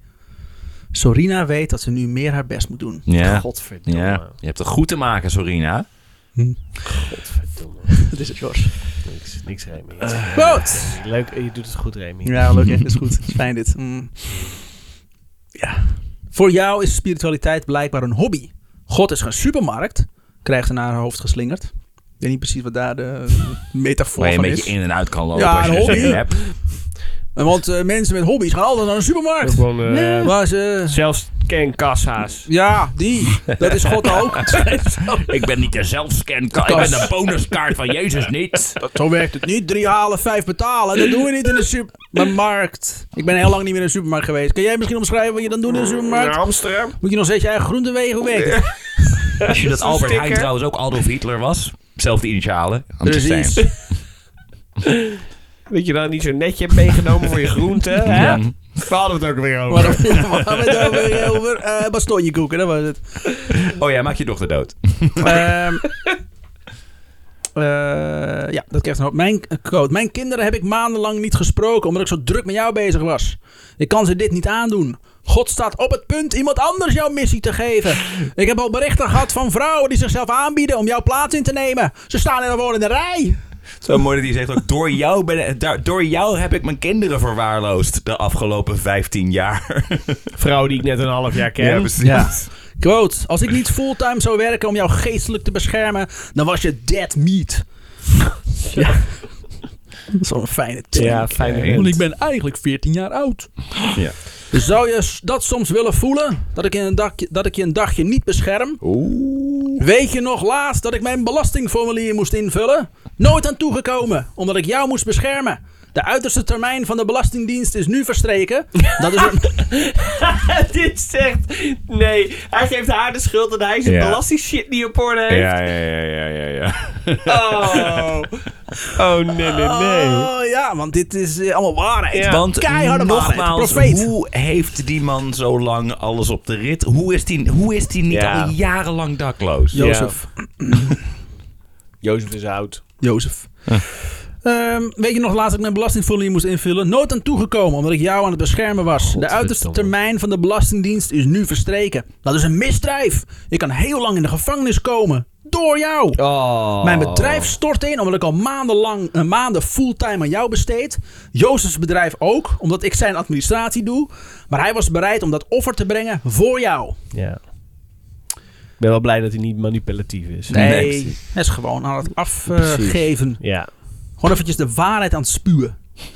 Sorina weet dat ze nu meer haar best moet doen. Ja. Godverdomme. ja. Je hebt het goed te maken, Sorina. Godverdomme. Dat is het, George. Niks, niks Remy. Eh. Goed! Leuk, eh, je doet het goed Remy. Ja, leuk, hè? Dat is goed. Fijn dit. Mm. Ja. Voor jou is spiritualiteit blijkbaar een hobby. God is geen supermarkt, krijgt ze naar haar hoofd geslingerd. Ik weet niet precies wat daar de metafoor Waar je een van beetje is. in en uit kan lopen Ja, als je een er hobby. zin in hebt. Want eh, mensen met hobby's gaan altijd naar een supermarkt. Gewoon, eh, Waar ze... Zelfs kenkassa's. Ja, die. Dat is God ook. Ik ben niet de zelfscan. Ik ben de bonuskaart van Jezus niet. Zo werkt het niet. Drie halen, vijf betalen. Dat doen we niet in de supermarkt. Ik ben heel lang niet meer in de supermarkt geweest. Kan jij misschien omschrijven wat je dan doet in de supermarkt? Amsterdam. Moet je nog steeds je eigen groenten wegen? Hoe werkt het? Als je dat Albert Heijn sticker. trouwens ook Adolf Hitler was. Zelfde initialen. I'm just Precies. saying. Weet je dan niet zo netje hebt meegenomen voor je groenten, hè? Ja. Daar hadden we het ook weer over. Waarom waarom het over, over eh bastonje koeken, dat was het. Oh ja, maak je dochter dood. Ehm, eh, ja, dat krijgt een hoop. Mijn quote. Mijn kinderen heb ik maandenlang niet gesproken omdat ik zo druk met jou bezig was. Ik kan ze dit niet aandoen. God staat op het punt iemand anders jouw missie te geven. Ik heb al berichten gehad van vrouwen die zichzelf aanbieden om jouw plaats in te nemen. Ze staan er gewoon in de rij. Zo mooi dat hij zegt ook, door jou, ben, daar- door jou heb ik mijn kinderen verwaarloosd de afgelopen 15 jaar. Vrouw die ik net een half jaar ken. Ja, precies. Ja. Quote. Als ik niet fulltime zou werken om jou geestelijk te beschermen, dan was je dead meat. Ja. Dat is wel een fijne tip. Ja, fijn. Oké. Want ik ben eigenlijk 14 jaar oud. Ja. Zou je s- dat soms willen voelen? Dat ik, in een dakje, dat ik je een dagje niet bescherm? Oeh. Weet je nog laatst dat ik mijn belastingformulier moest invullen? Nooit aan toegekomen, omdat ik jou moest beschermen. De uiterste termijn van de Belastingdienst is nu verstreken. Dat is een- Dit zegt... Nee, hij geeft haar de schuld en hij is Ja. belasting shit die op orde heeft. Ja, ja, ja, ja, ja, ja. Oh. oh, nee, nee, nee. Oh ja, want dit is eh, allemaal waarheid. Ja. Want Keiharde waarheid. nogmaals, Profeet. hoe heeft die man zo lang alles op de rit? Hoe is die, hoe is die niet Ja. al jarenlang dakloos? Jozef. Jozef is oud. Jozef. Ehm, weet je nog laatst dat ik mijn belastingformulier moest invullen? Nooit aan toegekomen, omdat ik jou aan het beschermen was. De uiterste termijn van de Belastingdienst is nu verstreken. Dat is een misdrijf. Ik kan heel lang in de gevangenis komen. Door jou. Oh. Mijn bedrijf stort in omdat ik al maandenlang, eh, maanden fulltime aan jou besteed. Jozefs bedrijf ook, omdat ik zijn administratie doe. Maar hij was bereid om dat offer te brengen voor jou. Ja. Ik ben wel blij dat hij niet manipulatief is. Nee. dat is gewoon aan het afgeven. Ja. Gewoon eventjes de waarheid aan het spuwen. moet het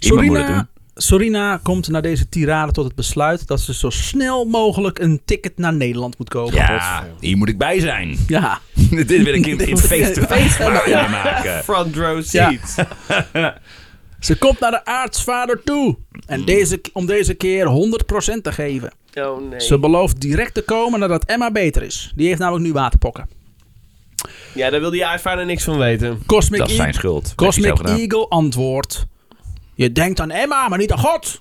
doen. Sorina, Sorina komt na deze tirade tot het besluit dat ze zo snel mogelijk een ticket naar Nederland moet kopen. Ja, hier moet ik bij zijn. Ja. Dit wil ik in in face-to-face waarheid maken. Front row seat. Ze komt naar de aartsvader toe. Mm. En deze, om deze keer 100% te geven. Oh nee. Ze belooft direct te komen nadat Emma beter is. Die heeft namelijk nu waterpokken. Ja, daar wil die aardvaarder niks van weten. Cosmic, Dat is E- zijn schuld. Cosmic E- Heeft hij zelf gedaan. Eagle antwoordt. Je denkt aan Emma, maar niet aan God.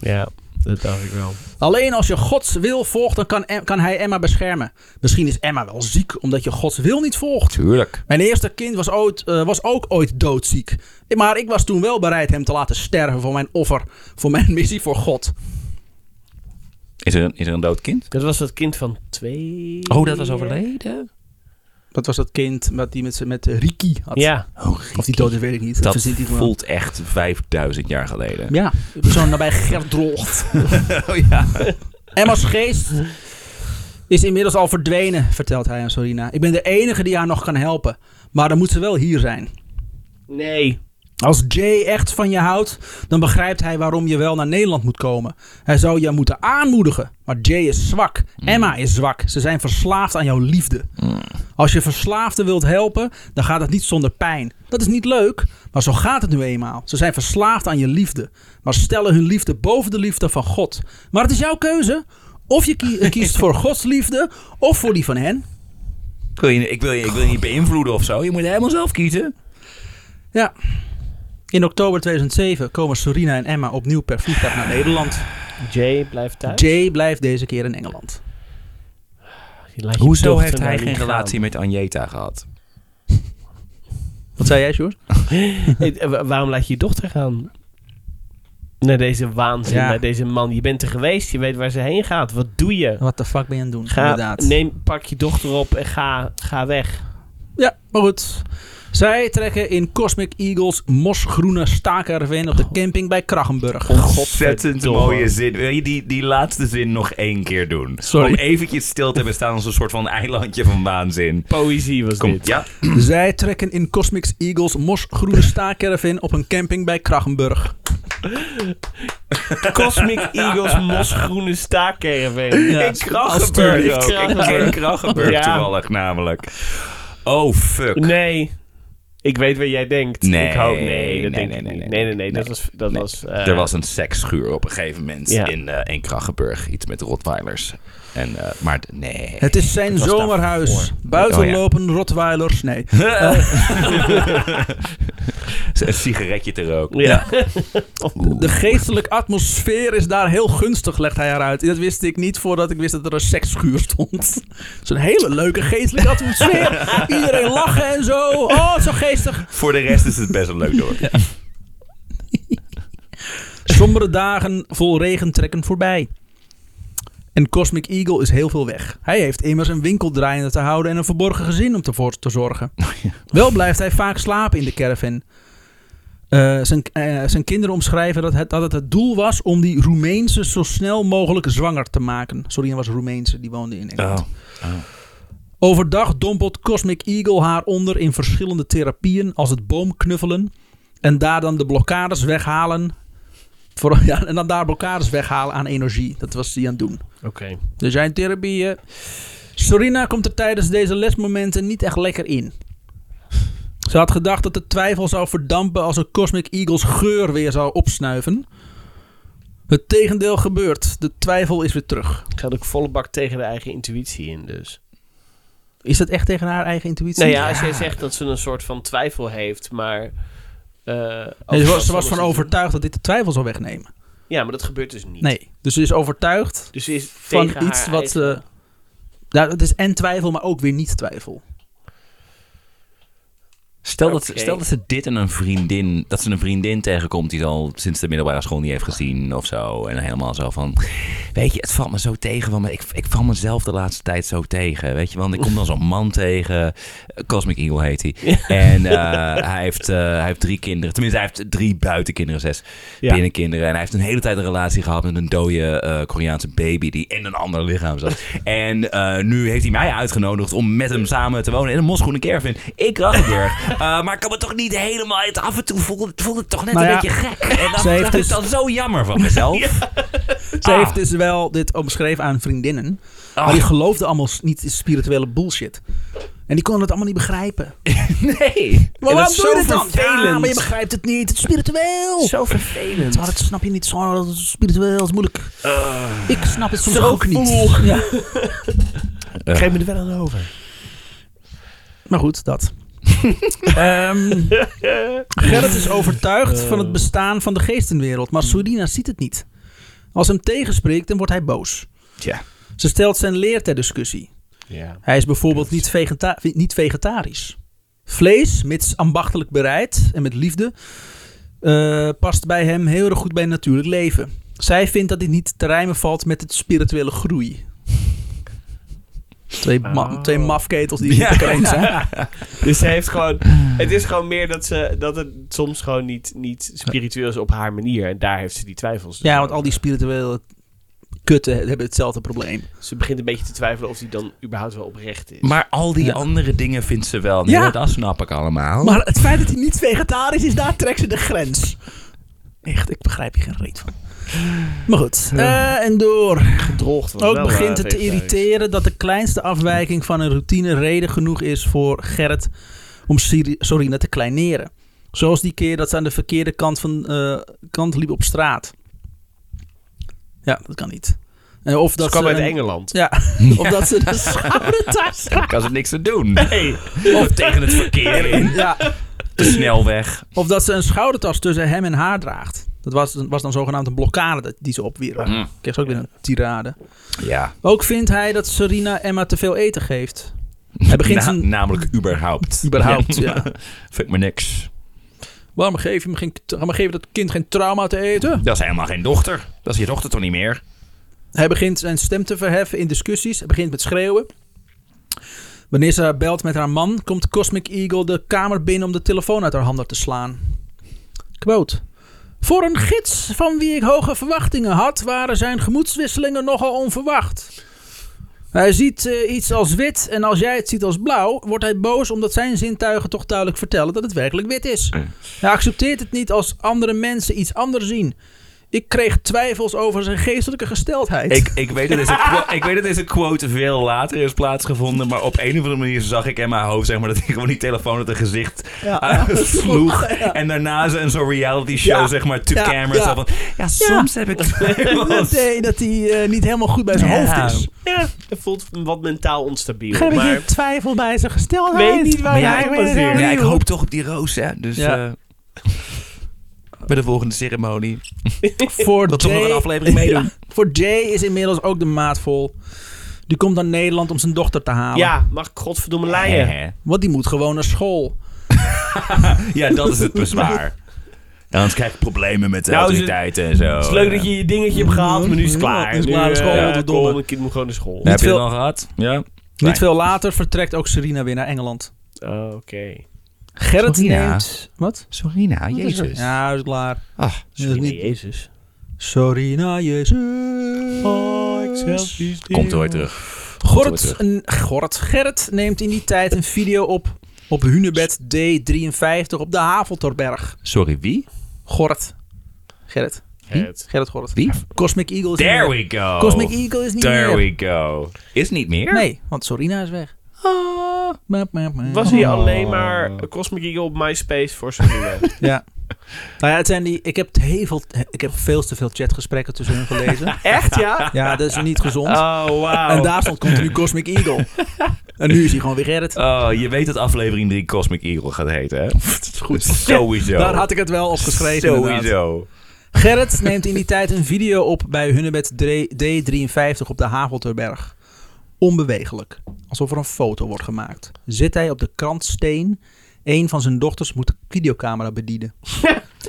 Ja, dat dacht ik wel. Alleen als je Gods wil volgt, dan kan, Em- kan hij Emma beschermen. Misschien is Emma wel ziek omdat je Gods wil niet volgt. Tuurlijk. Mijn eerste kind was, ooit, eh, was ook ooit doodziek. Maar ik was toen wel bereid hem te laten sterven voor mijn offer. Voor mijn missie voor God. Is er, een- is er een dood kind? Dat was dat kind van twee... Oh, overleden? Dat was dat kind wat die met, z'n- met eh, Riki had. Ja. Of die dood is, weet ik niet. Dat verzint hij gewoon. voelt echt 5000 jaar geleden. Ja, zo nabij Gerdrocht. Oh ja. Emma's geest is inmiddels al verdwenen, vertelt hij aan Sorina. Ik ben de enige die haar nog kan helpen. Maar dan moet ze wel hier zijn. Nee. Als Jay echt van je houdt, dan begrijpt hij waarom je wel naar Nederland moet komen. Hij zou je moeten aanmoedigen. Maar Jay is zwak. Emma is zwak. Ze zijn verslaafd aan jouw liefde. Als je verslaafden wilt helpen, dan gaat het niet zonder pijn. Dat is niet leuk, maar zo gaat het nu eenmaal. Ze zijn verslaafd aan je liefde. Maar stellen hun liefde boven de liefde van God. Maar het is jouw keuze. Of je kie- kiest voor Gods liefde, of voor die van hen. Ik wil, je, ik, wil je, ik wil je niet beïnvloeden of zo. Je moet helemaal zelf kiezen. Ja. In oktober 2007 komen Sorina en Emma opnieuw per vliegtuig naar Nederland. Jay blijft thuis. Jay blijft deze keer in Engeland. Die laat je Hoezo dochter heeft nou hij niet geen gaan. relatie met Anjeta gehad? Wat zei jij, Sjoerd? Hey, eh, wa- waarom laat je je dochter gaan? Naar deze waanzin, Ja. naar deze man. Je bent er geweest, je weet waar ze heen gaat. Wat doe je? Wat de fuck ben je aan het doen? Ga, Inderdaad. neem, pak je dochter op en ga, ga weg. Ja, maar goed. Zij trekken in Cosmic Eagles mosgroene staakerven op de camping bij Krachenburg. Ontzettend mooie zin. Wil je die, die laatste zin nog één keer doen? Sorry. Om eventjes stil te bestaan als een soort van eilandje van waanzin. Poëzie was Kom, dit. ja. Zij trekken in Cosmic Eagles mosgroene staakerven op een camping bij Krachenburg. Cosmic Eagles mosgroene staakcaravan. Ja. In Krachenburg ook. Ik ken Krachenburg Ja. toevallig namelijk. Oh, fuck. Nee. Ik weet wat jij denkt. Nee, ik hoop, nee, dat denk nee, nee, ik nee, niet. nee, Nee, nee, nee, dat nee. was... Dat was eh, er was een seksschuur op een gegeven moment Ja. in eh Enkrachtenburg. Iets met Rotweilers. En, eh, maar d- nee. Het is zijn Het was zomerhuis. daarvoor. Oh, Buitenlopen rotweilers. Nee. Eh. Een sigaretje te roken. Ja. De geestelijke atmosfeer is daar heel gunstig, legt hij eruit. Dat wist ik niet voordat ik wist dat er een seksschuur stond. Het is een hele leuke geestelijke atmosfeer. Iedereen lachen en zo. Oh, zo geestig. Voor de rest is het best een leuk dorp. Sombere dagen vol regen trekken voorbij. En Cosmic Eagle is heel veel weg. Hij heeft immers een winkel draaiende te houden en een verborgen gezin om te voor te zorgen. Wel blijft hij vaak slapen in de caravan. Eh, zijn, eh, zijn kinderen omschrijven dat het, dat het het doel was om die Roemeense zo snel mogelijk zwanger te maken. Sorry, hij was Roemeense, die woonde in Oh. Engeland. Overdag dompelt Cosmic Eagle haar onder in verschillende therapieën, als het boomknuffelen. En daar dan de blokkades weghalen. Voor, ja, en dan daar blokkades weghalen aan energie. Dat was hij aan het doen. Oké. Er zijn therapieën. Sorina komt er tijdens deze lesmomenten niet echt lekker in. Ze had gedacht dat de twijfel zou verdampen als een Cosmic Eagles geur weer zou opsnuiven. Het tegendeel gebeurt. De twijfel is weer terug. Gaat ook volle bak tegen de eigen intuïtie in dus. Is dat echt tegen haar eigen intuïtie? Nou ja, als jij zegt dat ze een soort van twijfel heeft, maar... eh, Nee, ze, was, ze overal was is van het- overtuigd dat dit de twijfel zou wegnemen. Ja, maar dat gebeurt dus niet. Nee. Dus ze is overtuigd Dus ze is van tegen iets haar wat eh, eigen- ze. Nou, het is en twijfel, maar ook weer niet twijfel. Stel, dat, Oké. stel dat ze dit en een vriendin, dat ze een vriendin tegenkomt die ze al sinds de middelbare school niet heeft gezien of zo. En helemaal zo van, weet je, het valt me zo tegen, want ik, ik val mezelf de laatste tijd zo tegen, weet je. Want ik kom dan zo'n man tegen, eh, Cosmic Eagle heet hij. En eh, hij, heeft, eh, hij heeft drie kinderen, tenminste hij heeft drie buitenkinderen, zes Ja. binnenkinderen. En hij heeft een hele tijd een relatie gehad met een dode eh, Koreaanse baby die in een ander lichaam zat. En eh, nu heeft hij mij uitgenodigd om met hem samen te wonen in een mosgroene caravan. Ik Rachtenburg. Eh maar ik kan me toch niet helemaal... het- af en toe voelde, voelde het toch net Nou een ja, beetje gek. En dat, ze heeft dat is dus- dan zo jammer van mezelf. Ze Ah. heeft dus wel dit omschreven aan vriendinnen. Ah. Maar die geloofden allemaal s- niet in spirituele bullshit. En die konden het allemaal niet begrijpen. Nee. Maar dat waarom is doe je zo dit dan? Ja, vervelend. maar je begrijpt het niet. Het is spiritueel. Zo vervelend. Maar dat snap je niet zo. Dat is spiritueel. Dat is moeilijk. Ah. Ik snap het soms Zo ook niet. cool. Ja. Geef me er wel aan over. Maar goed, dat. Ehm, Gerrit is overtuigd van het bestaan van de geestenwereld, maar Surina ziet het niet. Als hem tegenspreekt, dan wordt hij boos. Tja. Ze stelt zijn leer ter discussie. Ja. Hij is bijvoorbeeld niet, vegeta- niet vegetarisch. Vlees, mits ambachtelijk bereid en met liefde, eh, past bij hem heel erg goed bij natuurlijk leven. Zij vindt dat dit niet te rijmen valt met het spirituele groei. Twee, ma- Oh. twee mafketels die niet elkaar eens zijn. Dus ze heeft gewoon... Het is gewoon meer dat, ze, dat het soms gewoon niet, niet spiritueel is op haar manier. En daar heeft ze die twijfels. dus Ja, want over. al die spirituele kutten hebben hetzelfde probleem. Ze begint een beetje te twijfelen of die dan überhaupt wel oprecht is. Maar al die Ja. andere dingen vindt ze wel. Nee, Ja. Dat snap ik allemaal. Maar het feit dat hij niet vegetarisch is, daar trekt ze de grens. Echt, ik begrijp hier geen reet van. Maar goed, eh, en door. gedroogd was Ook wel, begint eh, Oh, het te feesthuis. irriteren dat de kleinste afwijking van een routine reden genoeg is voor Gerrit om Siri- Sorina te kleineren. Zoals die keer dat ze aan de verkeerde kant, van, eh, kant liep op straat. Ja, dat kan niet. En Of Ze dat kwam ze uit een- Engeland. Ja, of dat ze de schoudertas Ik kan ze niks aan doen. Hey. Of tegen het verkeer in. Ja, De snelweg. Of dat ze een schoudertas tussen hem en haar draagt. Dat was, was dan zogenaamd een blokkade dat- die ze opwierp. Mm. Kreeg ze ook weer een tirade. Ja. Ook vindt hij dat Serena Emma te veel eten geeft. Hij begint Na- zijn... Namelijk überhaupt. Überhaupt, ja. Vind ik me niks. Waarom geef je hem geen, waarom geef je dat kind geen trauma te eten? Dat is helemaal geen dochter. Dat is je dochter toch niet meer? Hij begint zijn stem te verheffen in discussies. Hij begint met schreeuwen. Wanneer ze haar belt met haar man, komt Cosmic Eagle de kamer binnen om de telefoon uit haar handen te slaan. Quote. Voor een gids van wie ik hoge verwachtingen had, waren zijn gemoedswisselingen nogal onverwacht. Hij ziet eh, iets als wit en als jij het ziet als blauw, wordt hij boos omdat zijn zintuigen toch duidelijk vertellen dat het werkelijk wit is. Hij accepteert het niet als andere mensen iets anders zien. Ik kreeg twijfels over zijn geestelijke gesteldheid. Ik, ik, weet dat deze quo- ik weet dat deze quote veel later is plaatsgevonden. Maar op een of andere manier zag ik in mijn hoofd zeg maar, dat hij gewoon die telefoon uit het gezicht eh, sloeg. En daarna ze een soort reality show, Ja. zeg maar, to Ja, camera. ja. zo van, ja, soms heb ik twijfels. dat, eh, dat hij eh, niet helemaal goed bij zijn Ja. hoofd is. Ja, dat voelt wat mentaal onstabiel. Geen beetje maar twijfel bij zijn ik gesteldheid. weet niet waar Maar je ja, op ik weet het baseert. helemaal Ja, niet. ik hoop toch op die roos, hè. Dus Ja. eh, bij de volgende ceremonie. Voor Dat we nog Jay- een aflevering meedoen. Ja. Voor Jay is inmiddels ook de maat vol. Die komt naar Nederland om zijn dochter te halen. Ja, mag ik godverdomme leien? Hè, hè. Want die moet gewoon naar school. Ja, dat is het bezwaar. En anders krijg je problemen met de Nou, is het- autoriteiten en zo. Het is leuk dat je je dingetje hebt gehaald, maar nu is het Ja, klaar. het is Nu, klaar, eh, school, Oh, ja, godverdomme. Kom, ik moet gewoon naar school. Heb je veel- het al gehad? Ja. Niet veel later vertrekt ook Serena weer naar Engeland. Oh, Oké. Gerrit Serena? neemt... Wat? Sorina, Wat is er? nou, jezus. Ja, is klaar. Ah, Dat is Sorry, niet... Jezus. Sorina, Jezus. komt er ooit terug. Gort, terug. een, Gort, Gerrit neemt in die tijd een video op op Hunebed D53 op de Haveltorberg. Sorry, wie? Gort. Gerrit. Het. Gerrit Gort. Wie? Cosmic Eagle is There niet meer. we go. Oh, Cosmic Eagle is niet There meer. we go. Is niet meer? Nee, want Sorina is weg. Ah, Map, map, map. Was hij alleen maar Cosmic Eagle op MySpace voor Serena? Ja. Nou ja, het zijn die... Ik heb, heel veel, ik heb veel te veel chatgesprekken tussen hun gelezen. Echt, ja? Ja, dat is niet gezond. Oh, En wauw. daar stond continu Cosmic Eagle. en nu is hij gewoon weer Gerrit. Oh, je weet dat aflevering 3 Cosmic Eagle gaat heten, hè? Dat is goed. Sowieso. Daar had ik het wel op geschreven inderdaad. Sowieso. Gerrit neemt in die tijd een video op bij Hunebed D- D53 op de Havelterberg. Onbewegelijk, alsof er een foto wordt gemaakt. Zit hij op de krantsteen. Een van zijn dochters moet de videocamera bedienen.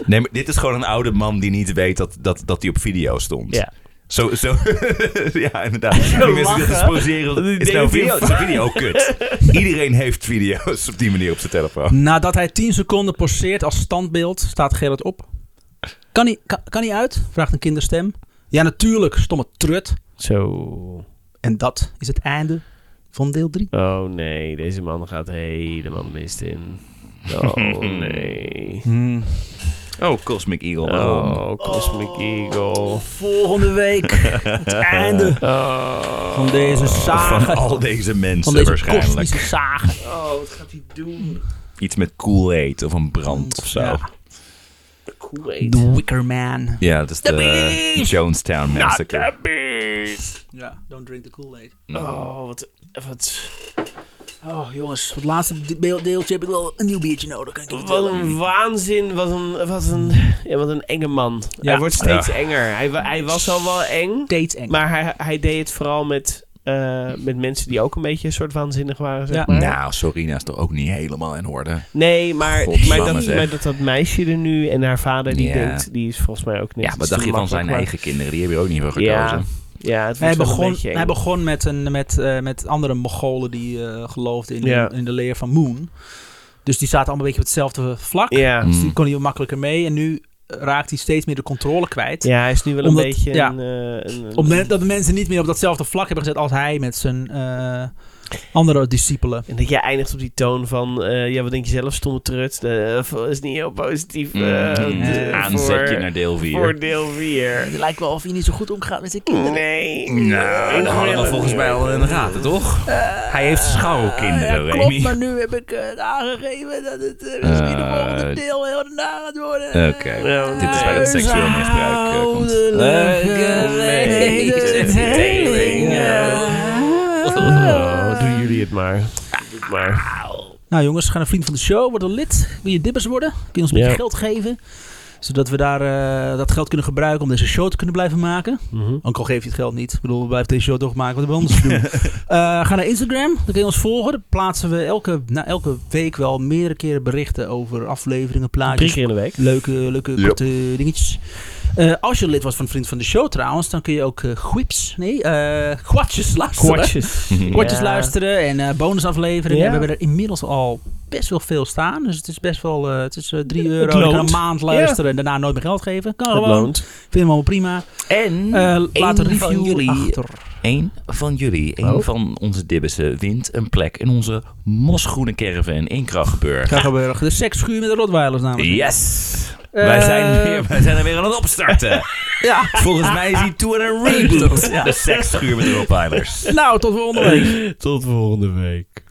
Nee, maar dit is gewoon een oude man die niet weet dat hij dat, dat die op video stond. Ja. Zo, zo. ja, inderdaad. Ik denk dat ze dit lachen. eens poseren. Dat die Is dingen nou video? via- Is een video kut. Iedereen heeft video's op die manier op zijn telefoon. Nadat hij 10 seconden poseert als standbeeld, staat Gerrit op. Kan hij, kan, kan hij uit? vraagt een kinderstem. Ja, natuurlijk, stomme trut. Zo. En dat is het einde van deel 3. Oh nee, deze man gaat helemaal de mist in. Oh nee. Oh, Cosmic Eagle. Oh, Cosmic Eagle. Volgende week, het einde Oh. van deze saga. Van al deze mensen Van deze waarschijnlijk. kosmische zagen. Oh, wat gaat hij doen? Iets met Kool-Aid of een brand of zo. Ja. Ja, Kool-Aid. The Wicker Man. dat is de beast! Jonestown Massacre. the beast. Ja, don't drink the Kool-Aid. Oh, wat... wat Oh jongens, voor het laatste de- deel- deeltje heb ik wel een nieuw biertje nodig. Kan ik je Wat vertellen. een waanzin, wat een, wat een, ja, wat een enge man. Ja. Hij wordt steeds Ja. enger. Hij, wa- hij was al wel eng, Steeds eng. maar hij, hij deed het vooral met, eh, met mensen die ook een beetje een soort waanzinnig waren. Zeg Ja. maar. Nou, Sorina is toch ook niet helemaal in orde. Nee, maar, Godsamme maar, dat, zeg. maar dat dat meisje er nu en haar vader die Ja. denkt, die is volgens mij ook niks. Ja, Dat wat is dacht te je van zijn makkelijk, eigen kinderen? Die heb je ook niet voor maar- gekozen. Ja, ja hij het wordt wel een begon, beetje eng. hij begon met, een, met, eh, met andere Mongolen die eh, geloofden in, Ja. in de leer van Moon. Dus die zaten allemaal een beetje op hetzelfde vlak. Ja. Mm. Dus die kon hij wat makkelijker mee. En nu eh, raakt hij steeds meer de controle kwijt. ja, hij is nu wel Omdat- een beetje ja. een, eh, een- een- Op het moment dat de mensen niet meer op datzelfde vlak hebben gezet als hij met zijn eh, andere discipelen. En dat jij eindigt op die toon van, eh, ja, wat denk je zelf, stomme trut. De, is niet heel positief. eh, Mm. de- Aanzetje voor- naar eh. deel 4. Voor deel 4. Het lijkt wel of hij niet zo goed omgaat met zijn Nee. Nou, dat hadden we volgens mij al in de gaten, toch? Hij heeft schouwkinderen, Ja, Eh, klopt, Remy. maar nu heb ik eh, het aangegeven dat het eh, misschien Eh, de volgende deel heel naar gaat worden. Oké, Ja, dit is waar dus, het seksueel misbruik eh, komt. Oh, doen jullie het maar. Doe het maar. Nou jongens, ga een vriend van de show, word een lid. Wil je dibbers worden? Kun je ons een beetje Ja. geld geven? Zodat we daar, eh, dat geld kunnen gebruiken om deze show te kunnen blijven maken. Mhm. Ook al geef je het geld niet. Ik bedoel, we blijven deze show toch maken wat we anders doen. Eh, ga naar Instagram. Dan kun je ons volgen. Daar plaatsen we elke, na elke week wel meerdere keren berichten over afleveringen, Drie plaatjes, keer in de week. Leuke, leuke Ja. korte dingetjes. Eh, als je lid was van Vriend van de Show trouwens, dan kun je ook eh quips, nee, eh kwatjes luisteren. Kwartjes. Kwartjes Ja. luisteren en eh, bonusafleveringen. Ja. We hebben er inmiddels al best wel veel staan. Dus het is best wel, eh, het is eh, 3 euro. Je loont. kan een maand luisteren en daarna nooit meer geld geven. Kan Het gewoon. loont. Vinden we allemaal prima. En Eh laat een Eén van review jullie- achter. een van jullie, een Oh. van onze dibbissen, wint een plek in onze mosgroene caravan in Krachtenburg. Krakkenburg. De seksschuur met de Rotweilers namelijk. Yes! wij, zijn weer, wij zijn er weer aan het opstarten. Ja. Volgens mij is hij toen een reboot. De seksschuur met de Rottweilers. Nou, tot volgende week. Tot volgende week.